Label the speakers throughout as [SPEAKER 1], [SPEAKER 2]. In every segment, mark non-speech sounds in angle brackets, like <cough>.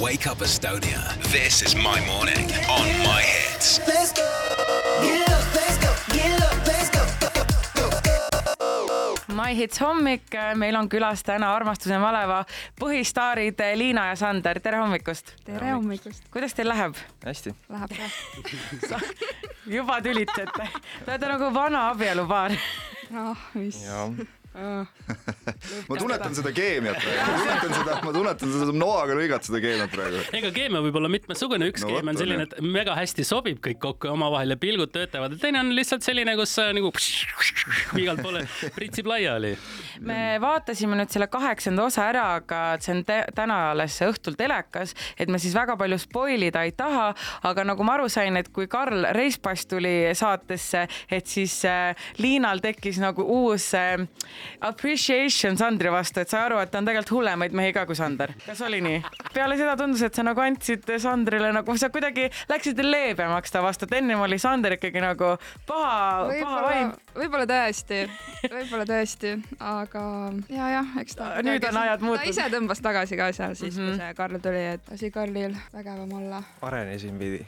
[SPEAKER 1] Wake Up Estonia. This is my morning on my hits.
[SPEAKER 2] Let's go. Get up, let's go. Get up, let's go. go, go, go, go.
[SPEAKER 3] My Hits hommik , meil on külas täna armastuse maleva põhistaarid Liina ja Sander , tere hommikust .
[SPEAKER 4] tere hommikust ,
[SPEAKER 3] kuidas teil läheb ?
[SPEAKER 5] hästi ,
[SPEAKER 4] läheb ka .
[SPEAKER 3] juba tülitsete , te olete nagu vana abielupaar .
[SPEAKER 4] ah , mis
[SPEAKER 5] jaa .
[SPEAKER 6] ma tunnetan seda keemiat praegu , ma tunnetan seda , ma tunnetan seda noaga lõigad seda keemiat praegu .
[SPEAKER 7] ega keemia võib olla mitmesugune , üks
[SPEAKER 6] No
[SPEAKER 7] no,
[SPEAKER 6] vot,
[SPEAKER 7] keemia on
[SPEAKER 6] on
[SPEAKER 7] selline , et mega hästi sobib kõik kokku ja omavahel ja pilgud töötavad ja teine on lihtsalt selline , kus sa nagu <laughs> igalt poole pritsib laiali .
[SPEAKER 3] me vaatasime nüüd selle kaheksanda osa ära , aga see on te- täna alles õhtul telekas , et me siis väga palju spoil ida ei taha , aga nagu ma aru sain , et kui Karl Reispass tuli saatesse , et siis äh, Liinal tekkis nagu uus äh, appreciation Sandri vastu , et sai aru , et ta on tegelikult hullemaid mehi ka kui Sander . kas oli nii ? peale seda tundus , et sa nagu andsid Sandrile nagu , sa kuidagi läksid leebemaks ta vastu , et ennem oli Sander ikkagi nagu paha , paha
[SPEAKER 4] võib-olla
[SPEAKER 3] vaim .,
[SPEAKER 4] võib-olla tõesti , võib-olla tõesti , aga ja , jah , eks ta .
[SPEAKER 3] Nüüd on ajad
[SPEAKER 4] ta
[SPEAKER 3] muutunud.
[SPEAKER 4] ise tõmbas tagasi ka seal siis mm , -hmm. kui see Karl tuli , et lasi Karlil vägevam olla .
[SPEAKER 5] arenesin pidi .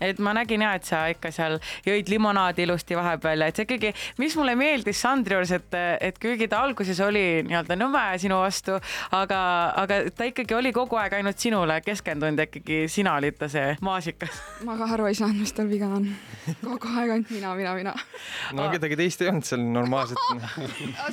[SPEAKER 3] et ma nägin ja , et sa ikka seal jõid limonaadi ilusti vahepeal ja et see ikkagi , mis mulle meeldis Sandri juures , et , et kuigi ta alguses oli nii-öelda nõme sinu vastu , aga , aga ta ikkagi oli kogu aeg ainult sinule keskendunud ja ikkagi sina olid ta see maasikas .
[SPEAKER 4] ma ka aru ei saanud , mis tal viga on . kogu aeg ainult mina , mina , mina .
[SPEAKER 5] no kedagi teist ei olnud seal noh, normaalselt .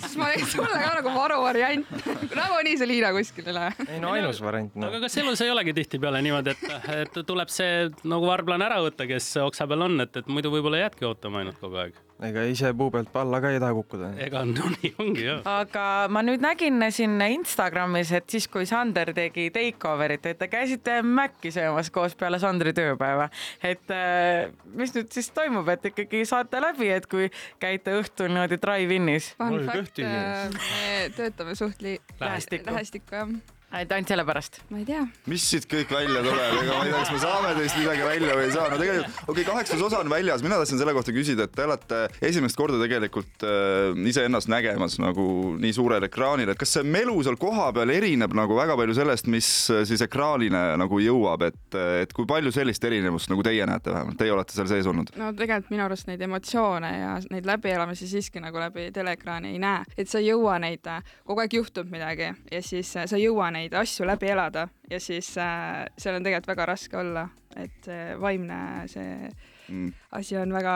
[SPEAKER 4] siis ma olin sulle ka nagu varuvariant . nagunii see Liina kuskile ei lähe .
[SPEAKER 5] ei no ainus variant noh
[SPEAKER 7] aga . kas elus ei olegi tihtipeale niimoodi , et , et tuleb see nagu varblane ära võtta , kes oksa peal on , et , et muidu võib-olla jäädki ootama ainult kogu aeg .
[SPEAKER 5] ega ise puu pealt alla ka ei taha <laughs> kukkuda .
[SPEAKER 7] ega no <laughs> nii ongi jah .
[SPEAKER 3] aga ma nüüd nägin siin Instagramis , et siis kui Sander tegi take over'it , et te käisite Maci söömas koos peale Sandri tööpäeva . et äh, mis nüüd siis toimub , et ikkagi saate läbi , et kui käite õhtul niimoodi drive-in'is ?
[SPEAKER 4] Fun
[SPEAKER 5] Mul
[SPEAKER 4] fact ,
[SPEAKER 5] kõht tühi on.
[SPEAKER 4] me töötame suht li-
[SPEAKER 3] Lähestikku.
[SPEAKER 4] lähestikku jah .
[SPEAKER 3] et ainult sellepärast .
[SPEAKER 4] ma ei tea
[SPEAKER 6] mis siit kõik välja tuleb , ega ma ei tea , kas me saame teist midagi välja või ei saa , no tegelikult okei okay, , kaheksas osa on väljas , mina tahtsin selle kohta küsida , et te olete esimest korda tegelikult äh, iseennast nägemas nagu nii suurel ekraanil , et kas see melu seal kohapeal erineb nagu väga palju sellest , mis äh, siis ekraanile nagu jõuab , et , et kui palju sellist erinevust nagu teie näete vähemalt , teie olete seal sees olnud ?
[SPEAKER 4] no tegelikult minu arust neid emotsioone ja neid läbielamisi siiski nagu läbi teleekraani ei näe , et sa ei jõua neid , kogu aeg juhtub midagi ja siis äh, sa ei jõua neid asju läbi elada ja siis äh, seal on tegelikult väga raske olla , et see vaimne äh, see
[SPEAKER 6] Mm.
[SPEAKER 4] asi on väga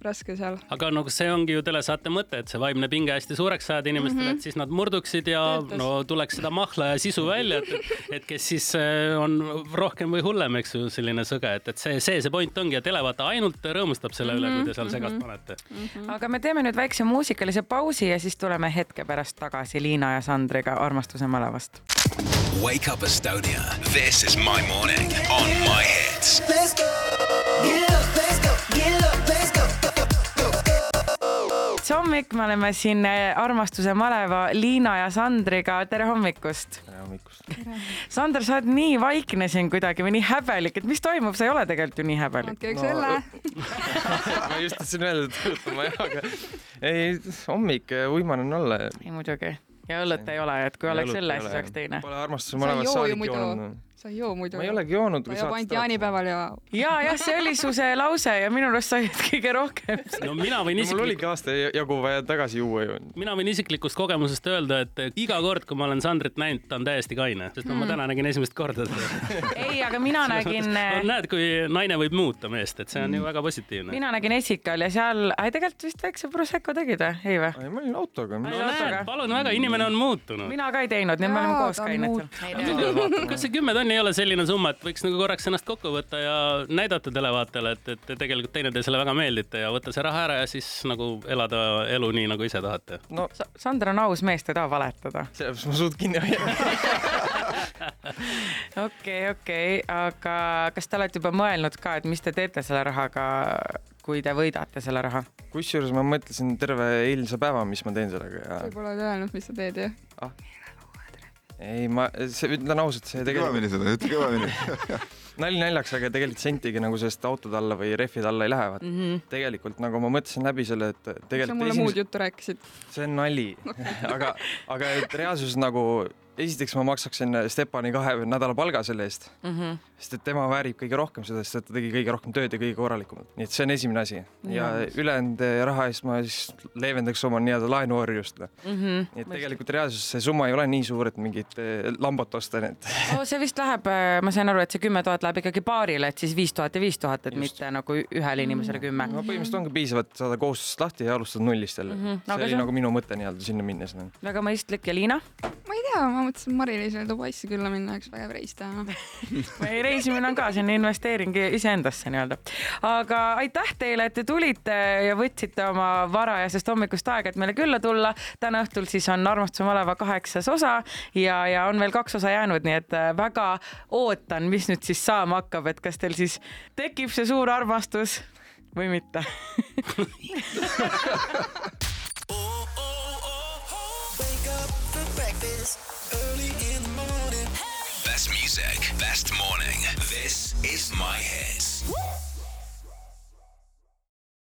[SPEAKER 4] raske seal .
[SPEAKER 7] aga no see ongi ju telesaate mõte , et see vaimne pinge hästi suureks ajada inimestele mm ,
[SPEAKER 3] Mhm.
[SPEAKER 7] -hmm. et siis nad murduksid ja
[SPEAKER 4] Töötas.
[SPEAKER 7] no tuleks seda mahla ja sisu välja , et , et kes siis eh, on rohkem või hullem , eks ju , selline sõge , et , et see , see , see point ongi , et elevaata ainult rõõmustab selle üle , kui te
[SPEAKER 3] Mhm,
[SPEAKER 7] seal segast panete .
[SPEAKER 3] aga me teeme nüüd väikse muusikalise pausi ja siis tuleme hetke pärast tagasi Liina ja Sandriga armastuse malevast .
[SPEAKER 1] Wake Up Estonia. This is my morning on my hits.
[SPEAKER 2] Let's go. Get up, let's go. Get up, let's go. go, go, go, go.
[SPEAKER 3] see hommik , me oleme siin eh, armastuse maleva Liina ja Sandriga , tere hommikust .
[SPEAKER 5] tere hommikust .
[SPEAKER 3] Sander , sa oled nii vaikne siin kuidagi või nii häbelik , et mis toimub , sa ei ole tegelikult ju nii häbelik .
[SPEAKER 4] andke üks
[SPEAKER 5] No, äh,
[SPEAKER 4] õlle .
[SPEAKER 5] ma just tahtsin öelda , et õhtul ma ei jaga . <laughs> ei , hommik , uimane on olla .
[SPEAKER 3] ei muidugi ja õllet ei ole , et kui oleks õlle , siis oleks teine .
[SPEAKER 5] Pole armastuse
[SPEAKER 4] sa ei
[SPEAKER 5] malevast
[SPEAKER 4] joo ju
[SPEAKER 5] saadik
[SPEAKER 4] muidu
[SPEAKER 5] joonud .,
[SPEAKER 4] sa ei joo muidu .
[SPEAKER 5] ma ei olegi joonud .
[SPEAKER 4] ta joob ainult jaanipäeval ja
[SPEAKER 3] ja , jah , see oli su see lause ja minu arust sa olid kõige <laughs> rohkem .
[SPEAKER 7] no mina võin
[SPEAKER 5] mul
[SPEAKER 7] isiklikult
[SPEAKER 5] oligi aasta jagu vaja tagasi juua ju .
[SPEAKER 7] mina võin isiklikust kogemusest öelda , et iga kord , kui ma olen Sandrit näinud , ta on täiesti kaine , sest no ma
[SPEAKER 3] Mhm.
[SPEAKER 7] täna nägin esimest korda teda .
[SPEAKER 3] <laughs> ei , aga mina nägin eh,
[SPEAKER 7] näed , kui naine võib muuta meest , et see on ju väga positiivne .
[SPEAKER 3] Mhm. mina nägin Esikal ja seal , tegelikult vist väikse Prosecco tegid või , ei või ?
[SPEAKER 5] ei , ma olin autoga .
[SPEAKER 3] Ai,
[SPEAKER 7] no näed
[SPEAKER 3] autoga. ,
[SPEAKER 7] palun väga , inimene on muutunud .
[SPEAKER 3] mina ka ei teinud , nüüd me oleme
[SPEAKER 4] Jaa,
[SPEAKER 3] koos
[SPEAKER 4] ta on
[SPEAKER 3] käinud
[SPEAKER 4] muut-
[SPEAKER 3] seal .
[SPEAKER 7] <laughs> kas see kümme tonni ei ole selline summa , et võiks nagu korraks ennast kokku võtta ja näidata televaatajale , et , et te tegelikult teineteisele väga meeldite ja võtta see raha ära ja siis nagu elada elu nii , nagu ise tahate .
[SPEAKER 5] no
[SPEAKER 3] Sander on aus mees , ta ei taha valetada .
[SPEAKER 5] sellepärast ma suud kinni <laughs> hoian .
[SPEAKER 3] okei , okei , aga kas te olete juba mõelnud ka , et mis te teete selle rahaga , kui te võidate selle raha ?
[SPEAKER 5] kusjuures ma mõtlesin terve eilse päeva , mis ma teen sellega ja
[SPEAKER 4] sa pole öelnud , mis sa teed ju .
[SPEAKER 5] ei , ma , see ütlen ausalt , see tegelikult
[SPEAKER 6] kõvemini seda , ütle kõvemini .
[SPEAKER 5] nali naljaks , aga tegelikult sentigi nagu sellest autode alla või rehvide alla ei lähe , vaata mm . -hmm. tegelikult nagu ma mõtlesin läbi selle , et
[SPEAKER 4] sa
[SPEAKER 5] tegelikult
[SPEAKER 4] mulle muud juttu rääkisid .
[SPEAKER 5] see on nali , aga , aga et reaalsuses nagu esiteks ma maksaksin Stepani kahe nädala palga selle eest mm , -hmm. sest et tema väärib kõige rohkem seda , sest et ta tegi kõige rohkem tööd ja kõige korralikumalt , nii et see on esimene asi ja ülejäänud raha eest ma siis leevendaks oma nii-öelda laenuorjust mm . -hmm. nii et tegelikult reaalsuses see summa ei ole nii suur , et mingit eh, lambot osta , nii et <laughs>
[SPEAKER 3] no Oh, see vist läheb , ma sain aru , et see kümme tuhat läheb ikkagi paarile , et siis viis tuhat ja viis tuhat , et mitte nagu ühele inimesele kümme .
[SPEAKER 5] no Noh, põhimõtteliselt ongi piisav , et saada kohustusest lahti ja alustada nullist jälle mm . -hmm.
[SPEAKER 3] Mhm. Aga
[SPEAKER 5] see
[SPEAKER 3] see
[SPEAKER 5] oli
[SPEAKER 3] on-
[SPEAKER 5] nagu minu mõte nii-öelda sinna minnes noh. no. .
[SPEAKER 3] väga mõistlik ja Liina ?
[SPEAKER 4] ma ei tea , ma mõtlesin Mari-Liisile Dubaisse külla minna , üks vägev reis teha .
[SPEAKER 3] ei , reisimine on ka selline investeering iseendasse nii-öelda . aga aitäh teile , et te tulite ja võtsite oma varajasest hommikust aega , et meile külla tulla . täna õhtul siis on Armastuse maleva kaheksas osa ja , ja on veel kaks osa jäänud , nii et äh, väga ootan , mis nüüd siis saama hakkab , et kas teil siis tekib see suur armastus või mitte
[SPEAKER 2] Wake up for breakfast early in the morning.
[SPEAKER 1] Best music, best morning. This is my hits.